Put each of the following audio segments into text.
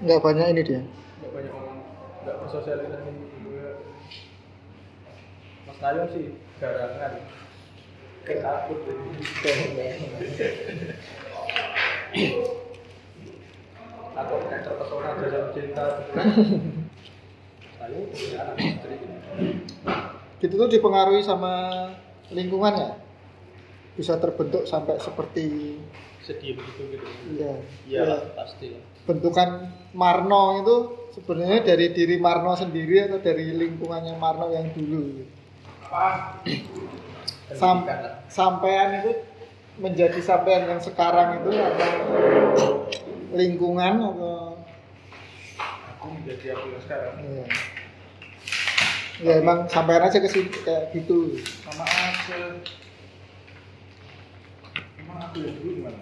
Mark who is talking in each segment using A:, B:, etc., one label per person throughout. A: nggak banyak ini dia
B: nggak banyak ngomong nggak bersosialisasi juga Mas Tayong sih garangan kayak takut aku kayak terpesona dalam cinta Tayong punya anak istri
A: gitu tuh dipengaruhi sama lingkungan ya bisa terbentuk sampai seperti
B: sedih begitu gitu
A: ya,
B: iya
A: ya,
B: pasti lah
A: bentukan Marno itu sebenarnya dari diri Marno sendiri atau dari lingkungannya Marno yang dulu Sam-
B: Pendidikan lah.
A: sampean itu menjadi sampean yang sekarang itu karena lingkungan atau
B: aku menjadi aku yang sekarang
A: ya, ya emang sampean aja ke situ kayak gitu
B: sama Acel emang aku yang dulu gimana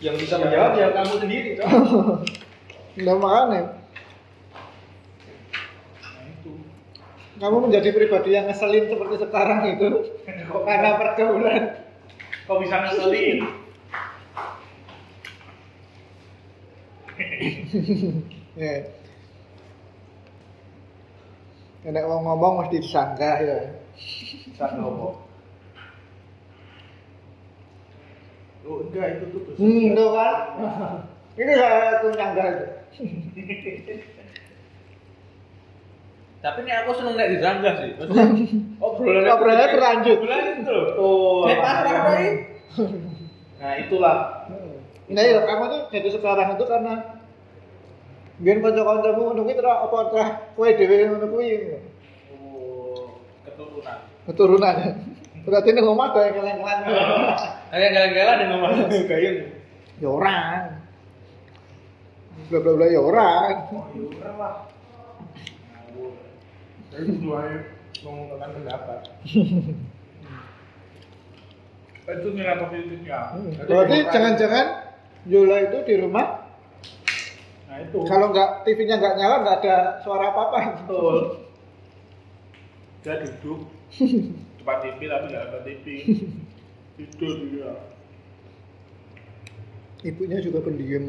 B: yang bisa menjawab ya kamu sendiri toh
A: nah makanya
B: nah itu
A: kamu menjadi pribadi yang ngeselin seperti sekarang itu karena pergaulan
C: Kok bisa ngeselin?
A: ya Nek mau ngomong mesti disangka ya.
B: saat ngomong oh enggak itu tuh
A: Hmm, tuh kan. Ini saya tuh nyangka itu.
C: Tapi nih aku seneng nek disanggah sih. Maksudnya obrolan
A: Obrolannya berlanjut.
C: Obrolan itu loh.
B: oh
C: Nek pasrah kok ini.
B: nah itulah
A: Nah, iya, kamu tuh jadi sekarang itu karena biar kanca-kancamu ngono kuwi terus apa terus kowe dhewe ngono kuwi.
C: Oh, keturunan.
A: Keturunan. Berarti ning omah kaya keleng-keleng.
C: Kayak galang-galang dengan Mas Gayung.
A: Ya ora. Bla bla bla ya ora.
B: oh ya udah lah ngawur jadi semuanya mengungkapkan pendapat
C: Itu nilai positifnya.
A: Berarti jangan-jangan Yola itu di rumah
B: nah itu
A: kalau nggak TV-nya nggak nyala nggak ada suara apa-apa.
B: betul dia duduk depan TV tapi nggak ada TV tidur dia
A: Ibunya juga pendiam,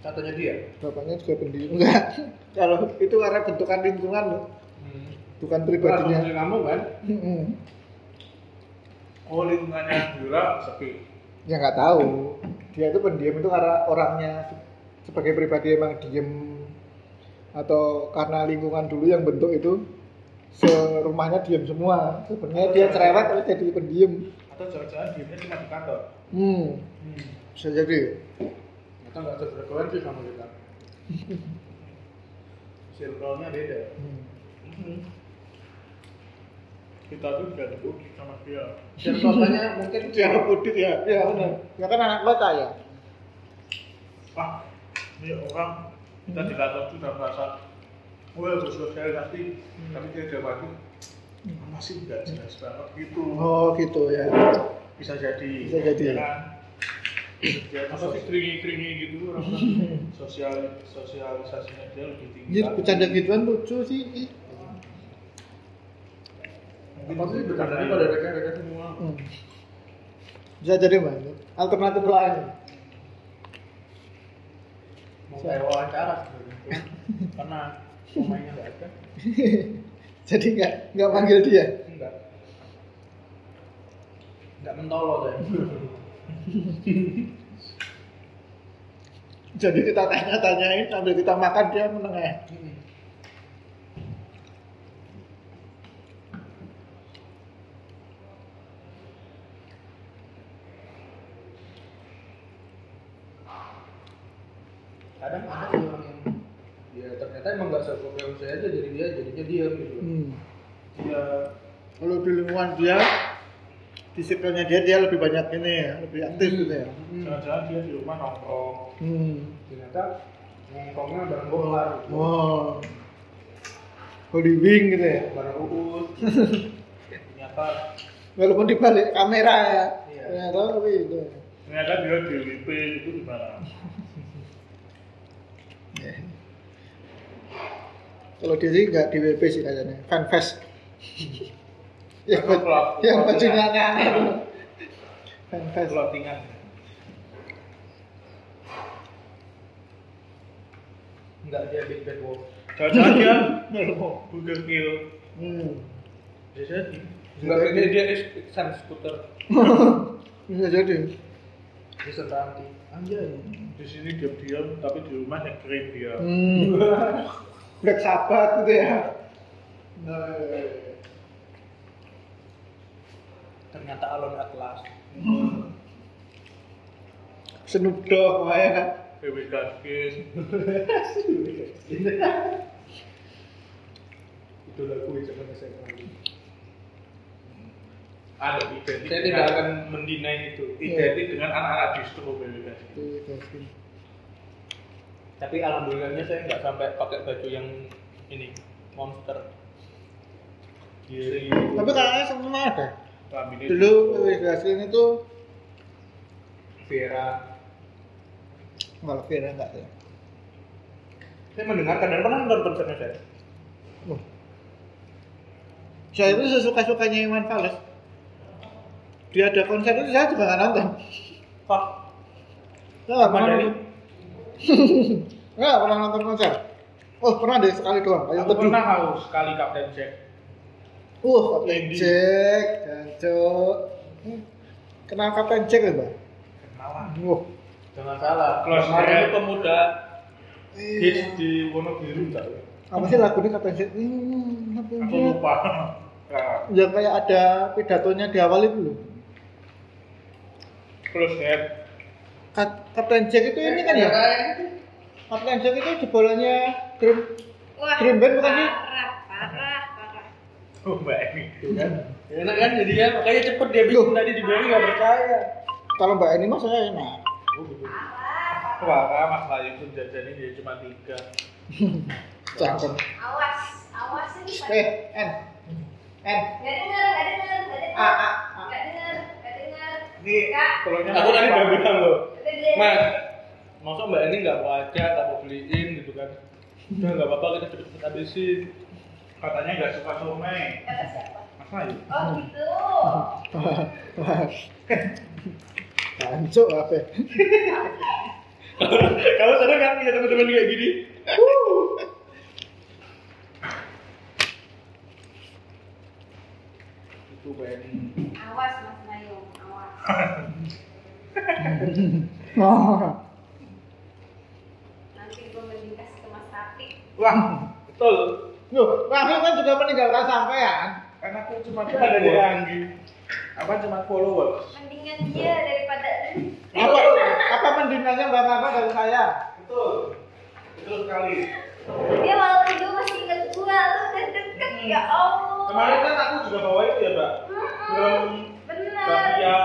B: contohnya dia
A: bapaknya juga pendiam. Enggak. Kalau itu karena bentukan lingkungan loh, Hmm. bukan pribadinya.
B: Nah, kamu kan
A: Mm-mm.
B: oh lingkungannya Yura sepi
A: ya nggak tahu. Dia itu pendiam itu karena orangnya se- sebagai pribadi emang diem atau karena lingkungan dulu yang bentuk itu serumahnya diem semua. Sebenarnya dia cerewet tapi jadi pendiam.
B: atau jangan-jangan diemnya cuma di kantor
A: Hmm, bisa jadi.
B: atau nggak ada berkawan sih sama kita circle-nya beda
A: Hmm.
B: Mm-hmm. kita tuh udah diuji sama dia
A: Contohnya mungkin dia pudit ya. Ya benar. Ya kan anak kota ya.
B: ah ini orang kita di kantor tuh udah merasa gue bersosialisasi tapi dia jawab masih nggak jelas banget gitu
A: Oh gitu ya.
B: bisa jadi
A: Bisa jadi.
B: ya kan? dia apa sih keringi keringi gitu orang sosial sosialisasinya dia lebih tinggi
A: Jadi Iya, bercanda gituan lucu sih. Ih.
B: apa sih bercandanya pada rekan-rekan semua
A: Hmm. Bisa jadi banyak. Alternatif lain.
B: mau kayak wawancara sebenarnya karena pemainnya nggak ada
A: Jadi nggak nggak panggil dia.
B: enggak enggak mentolo saya
A: Jadi kita tanya-tanyain sambil kita makan dia ya. menengah.
B: kadang ada sih orang yang ya ternyata emang nggak seproblem saya aja jadi dia jadinya diam gitu
A: Hmm.
B: dia
A: Kalau di lingkungan dia, di circle-nya dia dia lebih banyak ini ya, lebih aktif gitu ya.
B: jangan-jangan Hmm. dia di rumah nongkrong
A: Hmm.
B: ternyata nongkrongnya bareng bola gitu.
A: Wow. Holy Oh. wing gitu ya.
B: bareng uus ternyata
A: Walaupun di balik kamera ya.
B: Iya.
A: Ya, tahu tapi itu.
C: Ternyata dia di WP itu gimana?
A: Eh. Kalau dia sih nggak di WP sih kayaknya, fanfest. yang
C: Atau
A: ba-
C: pelak-
A: yang kan. bajunya
C: pelatihan.
A: aneh-aneh itu. fanfest.
C: Clottingan.
D: Enggak dia big bad wolf.
B: Jangan-jangan dia Google Kill
A: Hmm.
D: Bisa jadi.
A: Bisa
D: Enggak
A: jadi.
D: ini dia sang skuter.
A: Bisa jadi.
D: Dia serta anti. Anjay.
B: Di sini diam-diam, tapi di rumah nyekirin dia
A: Hmm. Black Sabbath gitu ya. Nah, iya, iya.
D: Ternyata Alon Atlas.
A: Snoop Dogg ya.
B: Baby Gaskis
D: Itu lagu yang sangat saya kenal.
B: Ada identik
D: Saya tidak akan mendinai itu.
B: Identik dengan anak-anak distro Baby Gaskis
A: Itu Gaskins.
D: Tapi alhamdulillahnya saya nggak sampai pakai baju yang ini monster. Diri.
A: Tapi kayaknya semua ada.
B: Lambini
A: Dulu Louis Gaskins itu
D: Vera.
A: kalau Vera enggak sih.
D: Saya mendengarkan dan pernah nonton konsernya saya.
B: Oh.
A: Wah. Saya itu sesuka-sukanya Iwan Fals. Dia ada konser itu saya juga nggak nonton.
D: Pak,
A: Saya nggak pernah
D: Mana
A: nonton.
D: ini?
A: Saya nggak pernah nonton konser. Oh pernah deh sekali doang. Kayak
B: Aku
A: teduh.
B: pernah haus sekali Kapten Jack
A: Uh,
B: Lendi.
A: Jack, Jancok. Kenal Kapten Jack ya, Mbak?
B: Kenalan
A: Wah.
D: jangan salah.
B: Close
D: Kemarin
B: Head.
D: itu pemuda hits
A: Eh,
D: di Wonogiri enggak ya?
A: Apa sih lagunya Kapten Jack? Hmm, Kapten
B: Aku
A: Jack.
B: lupa Nah,
A: Yang kayak ada pidatonya di awal itu loh.
B: Close Head
A: Ka- Kapten Jack itu ini kan ya? Kapten Jack itu jebolannya Dream
E: Wah,
A: Dream Band bukan sih?
E: Parah, parah, parah.
B: Oh Mbak Emi
D: Tuh kan.
A: Iya.
D: Enak kan jadinya makanya cepet dia bikin
A: Loh.
D: tadi di Bali nggak percaya.
A: Kalau Mbak Eni mah saya enak.
D: Oh, gitu.
B: Wah, Mas Layu pun jajannya jadi cuma tiga
A: Cangkem.
E: Awas, awas ini Pak.
A: Eh, N. N.
E: Nggak dengar, nggak dengar, nggak dengar.
A: Ah, ah, ah.
E: Nggak dengar, nggak dengar.
B: Ini
E: Kak.
B: telurnya
D: Aku tadi udah bilang loh.
E: Udah deh.
D: Mas, masa mbak ini nggak mau aja, nggak mau beliin gitu kan? Udah nggak apa-apa kita cepet-cepet habisin.
B: Katanya nggak suka somai
E: Kata siapa?
B: Mas Layu
E: Oh
A: Hmm.
E: gitu.
A: Hancur apa? ya?
D: Kamu sadar kan punya teman-teman kayak gini?
B: Itu Mbak Emi
E: Awas Mas Mayu, awas.
A: Wah.
E: Nanti gue mending kasih ke Mas Rafiq.
B: Wah, betul
A: Loh, Raffi kan juga meninggalkan sampean.
B: Kan aku cuma
D: Ada di
B: follower.
D: Ranggi.
B: Apa cuma followers
E: Mendingan dia daripada
A: Apa, apa mendingannya Mbak Nana dari saya?
B: Betul Betul sekali
E: dia walaupun dulu masih inget gua, lu udah deket ya Allah.
B: Kemarin kan aku juga bawa itu ya Mbak
E: Mm-mm.
B: Belum
E: Bener.
B: Bakpia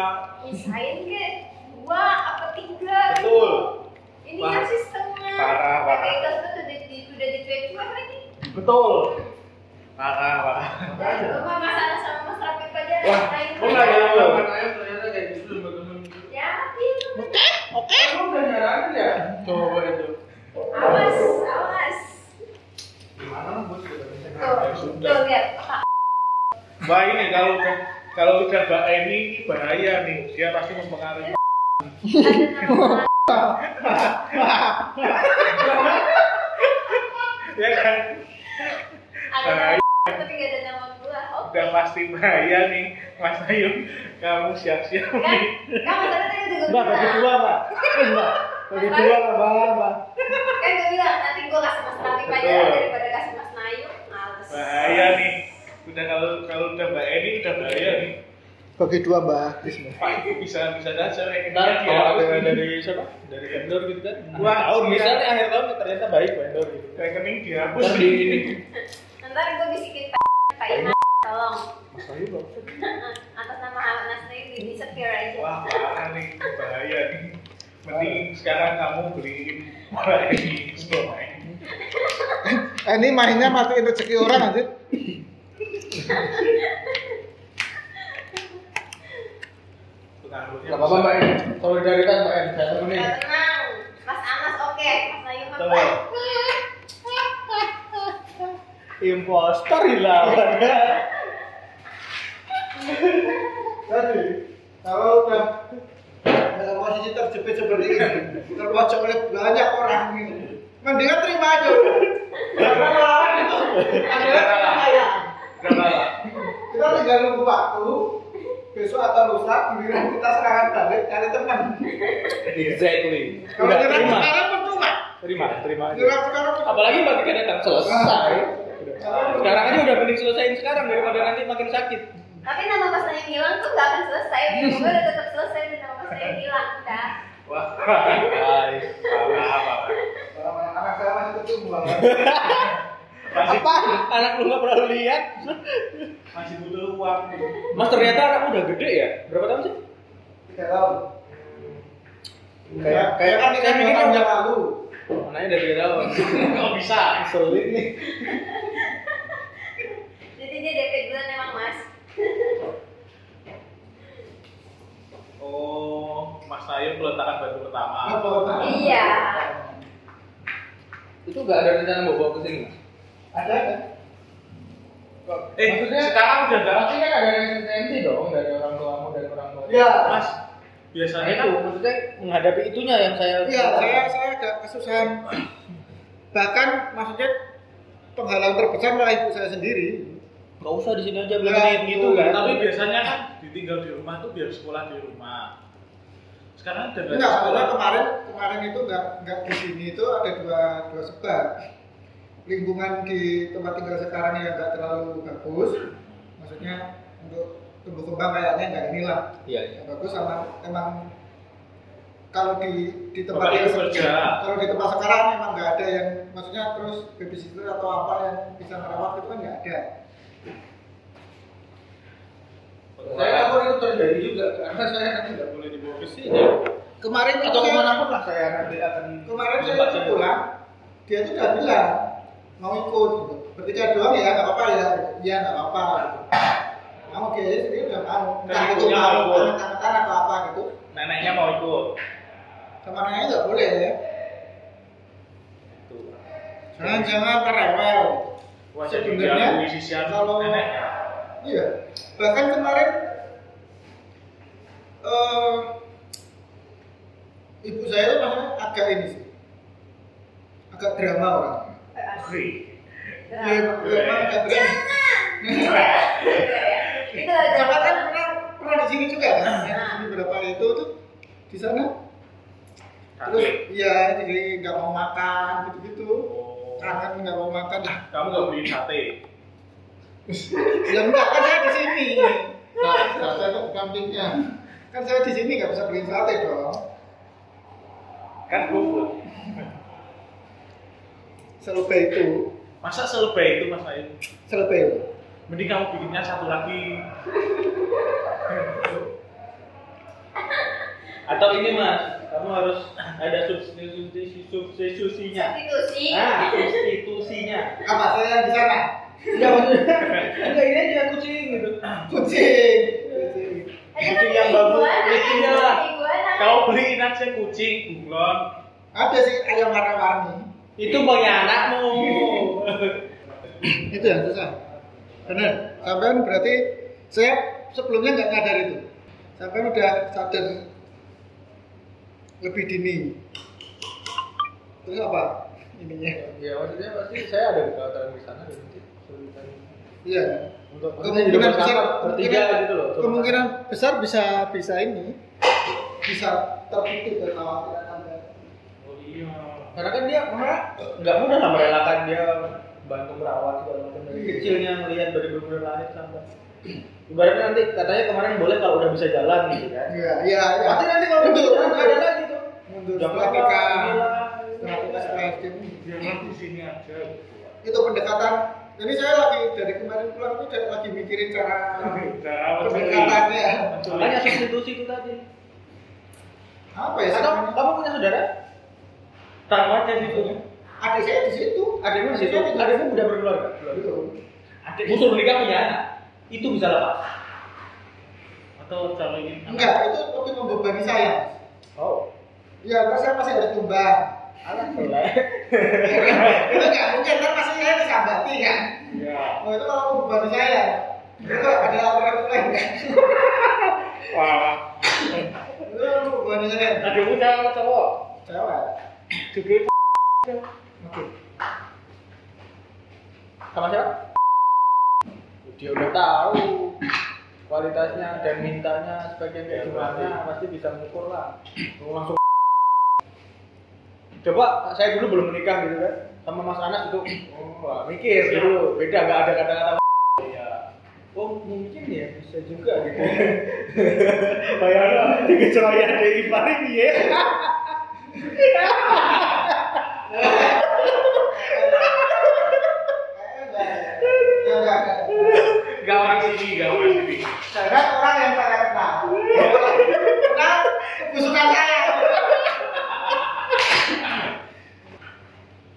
E: misain ke Iya, dua apa tiga
B: Betul.
E: gitu. ini
B: Wah.
E: kan sih setengah
B: Parah, parah.
E: Kayak kelas tuh udah di udah dicuek-cuek lagi
B: Betul Parah, parah
E: cuma masalah sama mas Rafiq aja
B: Wah,
E: lain
B: kok nggak ya
D: Kalau
B: lo?
D: Mbak Naya ternyata kayak gitu teman-teman.
E: ya
B: Kamu udah nyaranin ya?
D: Coba itu.
E: awas awas
B: Gimana lo buat kita bisa
E: tuh
B: ngapain?
E: tuh
B: Sudah
E: lihat
B: Mbak ini kalau kalau udah Mbak Emi ini bahaya nih Dia pasti mempengaruhi
E: ada nama
B: Ya kan?
E: ada nama tapi gak ada nama gua Oh, oke
B: Udah pasti bahaya nih Mas Ayu Kamu siap-siap
E: kan
B: nih
E: kamu tadi tadi juga
A: Mbak, bagi dua, Mbak. Eh, Mbak, bagi dua, Mbak, Mbak.
E: kan gua bilang nanti gua kasih mas Rafiq aja
B: Betul.
E: daripada kasih mas Nayu males
B: Bahaya nih Udah kalau kalau udah Mbak Eni udah bahaya nih
A: Bagi dua, Mbak. Isma.
B: Pak itu bisa bisa saja
D: Ntar
B: rekening
D: kalau
B: dia
D: ada dari siapa? Dari vendor gitu kan?
A: Nah,
B: Wah,
D: Akhir tahun
A: ya.
B: iya.
D: misalnya akhir tahun ternyata baik vendor gitu.
B: rekening dihapus
D: Ntar di ini.
E: ntar gua bisikin Pak Pak Iman tolong
D: Mas Ayu bang.
E: atas nama Anas Dewi di secure aja.
B: Wah, parah nih, bahaya nih. Mending sekarang kamu beliin orang ini semua ini.
A: Eh, ini mainnya matiin rezeki orang nanti.
B: Pengaruhnya
D: Gak apa-apa mbak Em. Solidaritas mbak Em. Saya temenin.
E: Gak tenang, Mas Anas oke, Mas Ayu mah.
B: Tuh.
D: Imposter hilang.
A: Tadi, kalau udah dalam posisi terjepit seperti ini, terpojok oleh banyak orang ini. mendingan terima aja karena melawan itu mendingan terima ya
B: Gak kalah.
A: kita tinggal nunggu waktu besok atau lusa giliran kita serangan balik cari teman
D: Exactly.
A: kalau
D: Udah,
A: nyerang
D: terima,
A: sekarang percuma
D: terima, terima aja.
A: nyerang sekarang percuma
D: Apalagi ketika datang selesai.
A: Sekarang
D: Sekarang aja udah mending selesaiin sekarang daripada nanti makin sakit.
E: Tapi nama kosan yang hilang tuh gak akan selesai. Gue udah tetap selesai dan nama kosan yang hilang, kan?
B: Wah.
D: Guys,
B: Apa-apa.
A: anak saya masih percuma
B: Masih,
D: apa? Anak lu nggak pernah lu lihat?
B: masih butuh uang.
D: Mas ternyata anak udah gede ya? Berapa tahun sih?
A: tidak tahu
F: Kayak kayak
A: kan
D: saya
A: kita
D: mikirnya
A: yang
D: udah-
A: lalu
D: Anaknya udah tiga tahun.
B: Kok bisa?
D: Sulit nih.
E: Jadi dia dari bulan emang, Mas.
B: Oh, Mas Nayo peletakan batu pertama.
A: apa
E: Iya.
D: Itu nggak ada rencana mau bawa ke sini. Mas?
A: ada kan
B: Eh,
D: Maksudnya-
B: sekarang udah nggak
D: Pasti kan ada resistensi dong dari orang tuamu dan orang tuamu.
A: iya
B: Mas,
D: Nah,
B: biasanya
D: itu
B: kan
D: maksudnya menghadapi itunya yang saya.
A: Iya, saya saya agak kesusahan. Bahkan maksudnya penghalang terbesar malah ibu saya sendiri.
D: Gak usah di sini aja
A: Iya,
D: bilang gitu
A: betul.
D: kan.
B: tapi biasanya kan ditinggal di rumah tuh biar sekolah di rumah. Sekarang udah nggak ada
A: Enggak, Nah, soalnya kemarin kemarin itu enggak enggak di sini itu ada dua dua sebab. Lingkungan di tempat tinggal sekarang yang enggak terlalu bagus. Maksudnya untuk tumbuh kembang kayaknya enggak inilah.
D: Iya, iya.
A: Yang bagus sama emang kalau di di tempat
B: Bapaknya
A: yang
B: kerja.
A: kalau di tempat sekarang memang nggak ada yang maksudnya terus babysitter atau apa yang bisa merawat itu kan nggak ada.
D: Saya takut itu terjadi juga karena saya nanti nggak boleh dibawa ke sini.
A: Kemarin itu
D: Atau
A: saya-
D: kemana pun lah saya nanti akan.
A: kemarin saya
D: tempat
A: itu pulang dia tuh udah bilang mau ikut gitu. bertiga doang ya nggak apa-apa ya ya nggak apa-apa gitu. Nah, oke jadi udah mau entah
B: Dan
A: itu
B: ibunya
A: mau
B: mau.
A: anak-anak atau apa gitu
B: neneknya mau ikut.
A: temannya nggak boleh ya
D: Tuh.
A: jangan-jangan merewel
B: Wah, jadi
A: Sebenarnya,
B: diakui sisian
A: kalau-
B: neneknya.
A: Iya. Bahkan kemarin eh ibu saya itu maksudnya agak ini sih. Agak drama orang.
B: Wih,
A: Iya,
E: Drama.
A: iya, emang agak drama.
E: Itu aja.
A: Drama kan pernah pernah di sini juga kan? Ya, di sini berapa hari itu tuh di sana terus
B: Sakit.
A: iya jadi nggak mau makan gitu-gitu
B: Oh,
A: kangen nggak mau makan lah
B: Kamu nggak beliin sate?
A: ya enggak kan saya di sini nah, saya tuh kambingnya kan saya di sini nggak bisa beliin sate dong
B: Kan GoFood.
A: selebay itu
B: Masa selebay itu Mas Nayo?
A: selebay itu
B: Mending kamu bikinnya satu lagi.
D: Atau ini mas, kamu harus ada substitusi substitusinya.
E: Substitusi.
D: Nah, substitusinya.
A: apa saya di sana
D: Ya maksudnya, enggak ini aja kucing gitu.
A: kucing kucing
E: Ada
D: Kucing
E: kan
D: yang
E: ada
D: bagus,
E: iguana,
D: kucingnya
E: ada
D: lah.
E: iguana.
B: Kau beliin aja kucing, bunglon.
A: ada sih ayam warna-warni
D: Itu punya anakmu.
A: itu yang susah benar sampean berarti saya sebelumnya nggak sadar itu sampean udah sadar lebih dini terus apa ininya
D: Ya maksudnya pasti saya ada kekhawatiran di sana dan nanti kesulitan
A: iya
D: untuk
A: kemungkinan besar
D: bertiga
A: kemungkinan-
D: gitu loh.
A: kemungkinan besar bisa bisa ini bisa terbukti kekhawatiran anda
B: Oh iya.
D: Karena kan dia karena nggak mudah lah merelakan dia bantu merawat segala macam dari
A: Iya.
D: kecilnya melihat dari bener-bener lahir sampai ibaratnya nanti katanya kemarin boleh kalau udah bisa jalan gitu kan.
A: iya iya iya
D: Pasti nanti kalau udah
A: Mundur,
D: bisa jalan nggak ada
A: mundur.
D: lagi tuh.
A: mundur
D: Jangan
A: setelah
D: apa,
A: TK
D: gila.
A: setelah TK setelah SD mundur.
D: Hmm.
B: Jangan di sini aja.
A: itu pendekatan jadi saya lagi dari kemarin pulang itu udah lagi mikirin cara
B: Udah,
A: pendekatannya
D: Makanya substitusi itu tadi.
A: apa ya
D: Atau
A: namanya?
D: kamu punya saudara? Tahu aja gitu.
A: adik saya di situ
D: Adikmu di situ.
A: Saya di
D: Adikmu udah berkeluarga.
A: Belum.
D: Adik musuh menikah punya anak. Itu bisa lepas.
B: Atau kalau ingin
A: enggak itu tapi membebani saya
D: Oh.
A: ya terus saya masih harus tumbang
D: Anak mulai.
A: itu nggak mungkin kan masih saya disambati kan
B: Ya.
A: oh itu kalau membebani saya itu ada alternatif lain kan
B: Wah.
A: itu membebani saya
D: Adikmu cewek apa cowok?
A: cewek
D: Juga
A: Oke.
D: sama siapa? Dia udah tahu kualitasnya dan mintanya sebagai kayak gimana pasti bisa mengukur lah. Lu Oh, Langsung coba saya dulu belum menikah gitu kan sama Mas Anas itu Oh, wah mikir dulu beda nggak ada kata-kata
B: Iya.
D: ya oh mungkin ya bisa juga gitu bayangin dikecualian dari paling ya
A: Kayaknya enggak ya. Enggak, enggak.
B: Gak masih ini, gak masih ini.
A: Sangat orang yang saya kenal. Kenal kebusukan saya.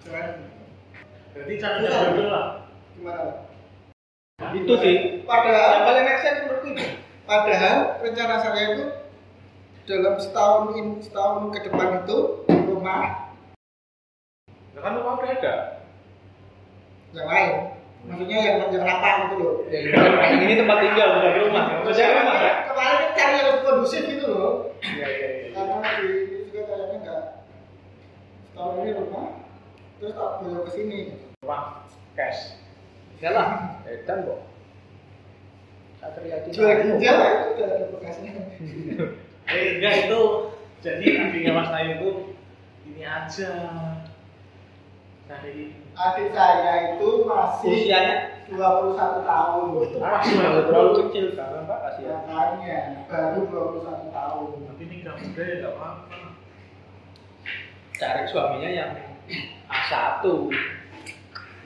A: Cuman,
B: Jadi caranya betul lah.
A: Gimana?
D: itu sih
A: Padahal
D: yang paling make sense menurutku itu
A: Padahal rencana saya itu dalam setahun in, setahun ke depan itu rumah
B: Ya kan rumah udah ada.
A: yang lain. Maksudnya yang yang lapang gitu loh.
D: ya, ini tempat tinggal bukan rumah maksudnya rumah kan
A: Kemarin kan cari yang lebih kondusif gitu loh.
D: iya iya iya
A: Karena di ini juga kayaknya enggak setahun ini rumah terus tak belok ke sini.
D: rumah cash ya lah edan kok satria itu
A: Jual ginjal ya, udah ada bekasnya.
B: Eh, enggak itu. Jadi idenya Mas Naim itu ini aja. Cari
A: Adik saya itu masih
D: usianya
A: 21 tahun.
D: masih
B: masih
D: terlalu kecil kan pak kasihan
A: Makanya baru 21 tahun.
B: tapi ini gak muda ya gak apa-apa.
D: cari suaminya yang A1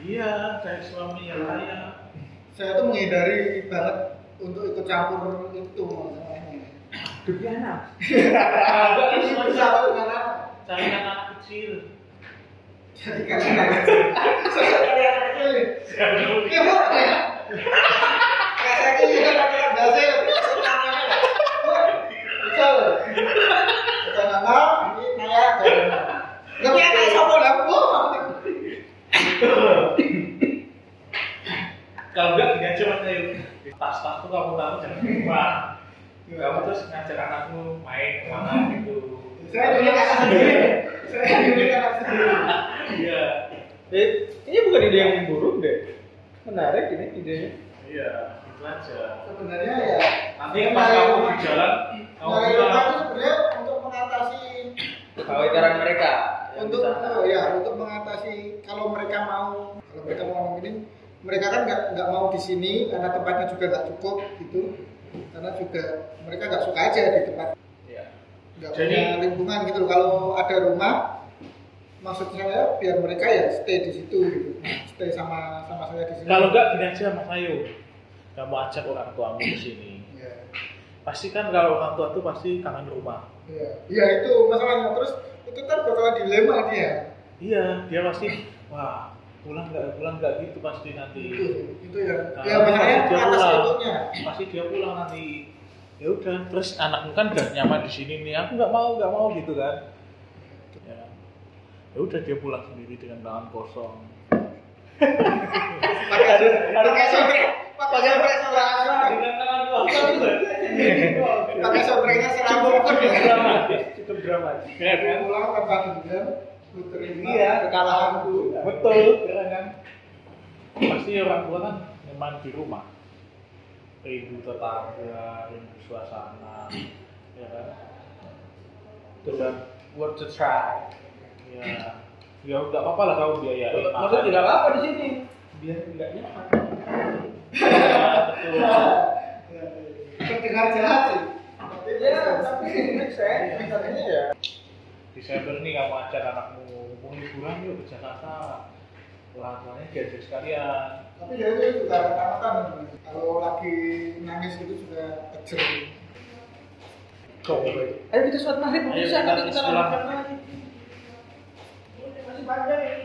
B: Iya, cari suami yang layak.
A: saya tuh menghindari banget untuk ikut campur itu masalahnya.
D: demi anak
B: Agak
A: Ini
B: itu
A: bersama
B: aja.
A: dengan apa?
B: Cari anak kecil.
A: Jadi kalian Saya anak kecil nih. Ini bu, ya. Kayak saya ini kan anak biasa ya. Betul. Betul nama, ini saya. Tapi anak siapa lah bu?
B: kalau enggak gini aja mas Ayu tas-tas tuh kamu tahu jangan lupa kamu terus ngajak anakmu
D: Eh,
B: main kemana gitu
A: Saya dulu anak sendiri. Saya dulu anak sendiri.
B: iya
D: eh, ini bukan ide yang buruk deh menarik ini idenya
B: iya gitu aja
A: Sebenarnya ya.
B: nanti pas kamu di jalan kamu
A: Nah,
B: bilang
A: Eropa itu sebenarnya untuk mengatasi
D: kawetan mereka yang
A: untuk
D: di sana.
A: eh, ya untuk mengatasi kalau mereka mau kalau mereka mau ini mereka kan nggak nggak mau di sini karena tempatnya juga nggak cukup gitu karena juga mereka nggak suka aja di tempat
D: Iya.
A: nggak
B: Jadi-
A: punya lingkungan gitu kalau ada rumah maksud saya biar mereka ya stay di situ gitu stay sama sama saya di sini
B: kalau enggak gini aja mas Ayu kamu ajak orang tuamu ke sini
A: ya,
B: pasti kan kalau orang tua tuh pasti kangen rumah
A: ya. ya itu masalahnya terus itu kan bakalan dilema dia
B: iya dia pasti wah pulang nggak pulang nggak gitu pasti nanti
A: itu itu ya
B: Nah,
A: ya makanya
B: dia
A: atas
B: pulang.
A: itunya
B: pasti dia pulang nanti ya udah terus anakmu kan udah nyaman di sini nih aku nggak mau nggak mau gitu kan ya kan? ya udah dia pulang sendiri dengan tangan kosong
A: pakai pakai sobek pakai sobek serasa
D: dengan tangan kosong itu
A: pakai sobreknya serabut kan ya
D: dramatis cukup dramatis
B: ya kan
A: pulang tanpa dendam ku terima
D: Iya.
A: kekalahanku
D: betul
B: Keren kan pasti orang tua kan nyaman di rumah rindu tetangga rindu suasana ya kan
D: Betul kan? worth to try
B: ya ya nggak apa-apa lah kamu biayain
D: maksudnya
B: makan.
D: tidak apa-apa di sini biar tidak nyaman
B: Ya, betul.
A: terdengar jahat sih tapi
D: ya tapi make sense misalnya ya
B: Desember nih kamu ajak anakmu mau liburan yuk ke Jakarta orang tuanya diajak sekalian
A: tapi dia itu juga ketakutan kalau lagi nangis gitu juga kejer
D: ayo kita sholat maghrib mau
B: Ayo,
D: bisa
B: kita
D: nanti kita
B: sholat.
D: lanjutkan lagi masih panjang ini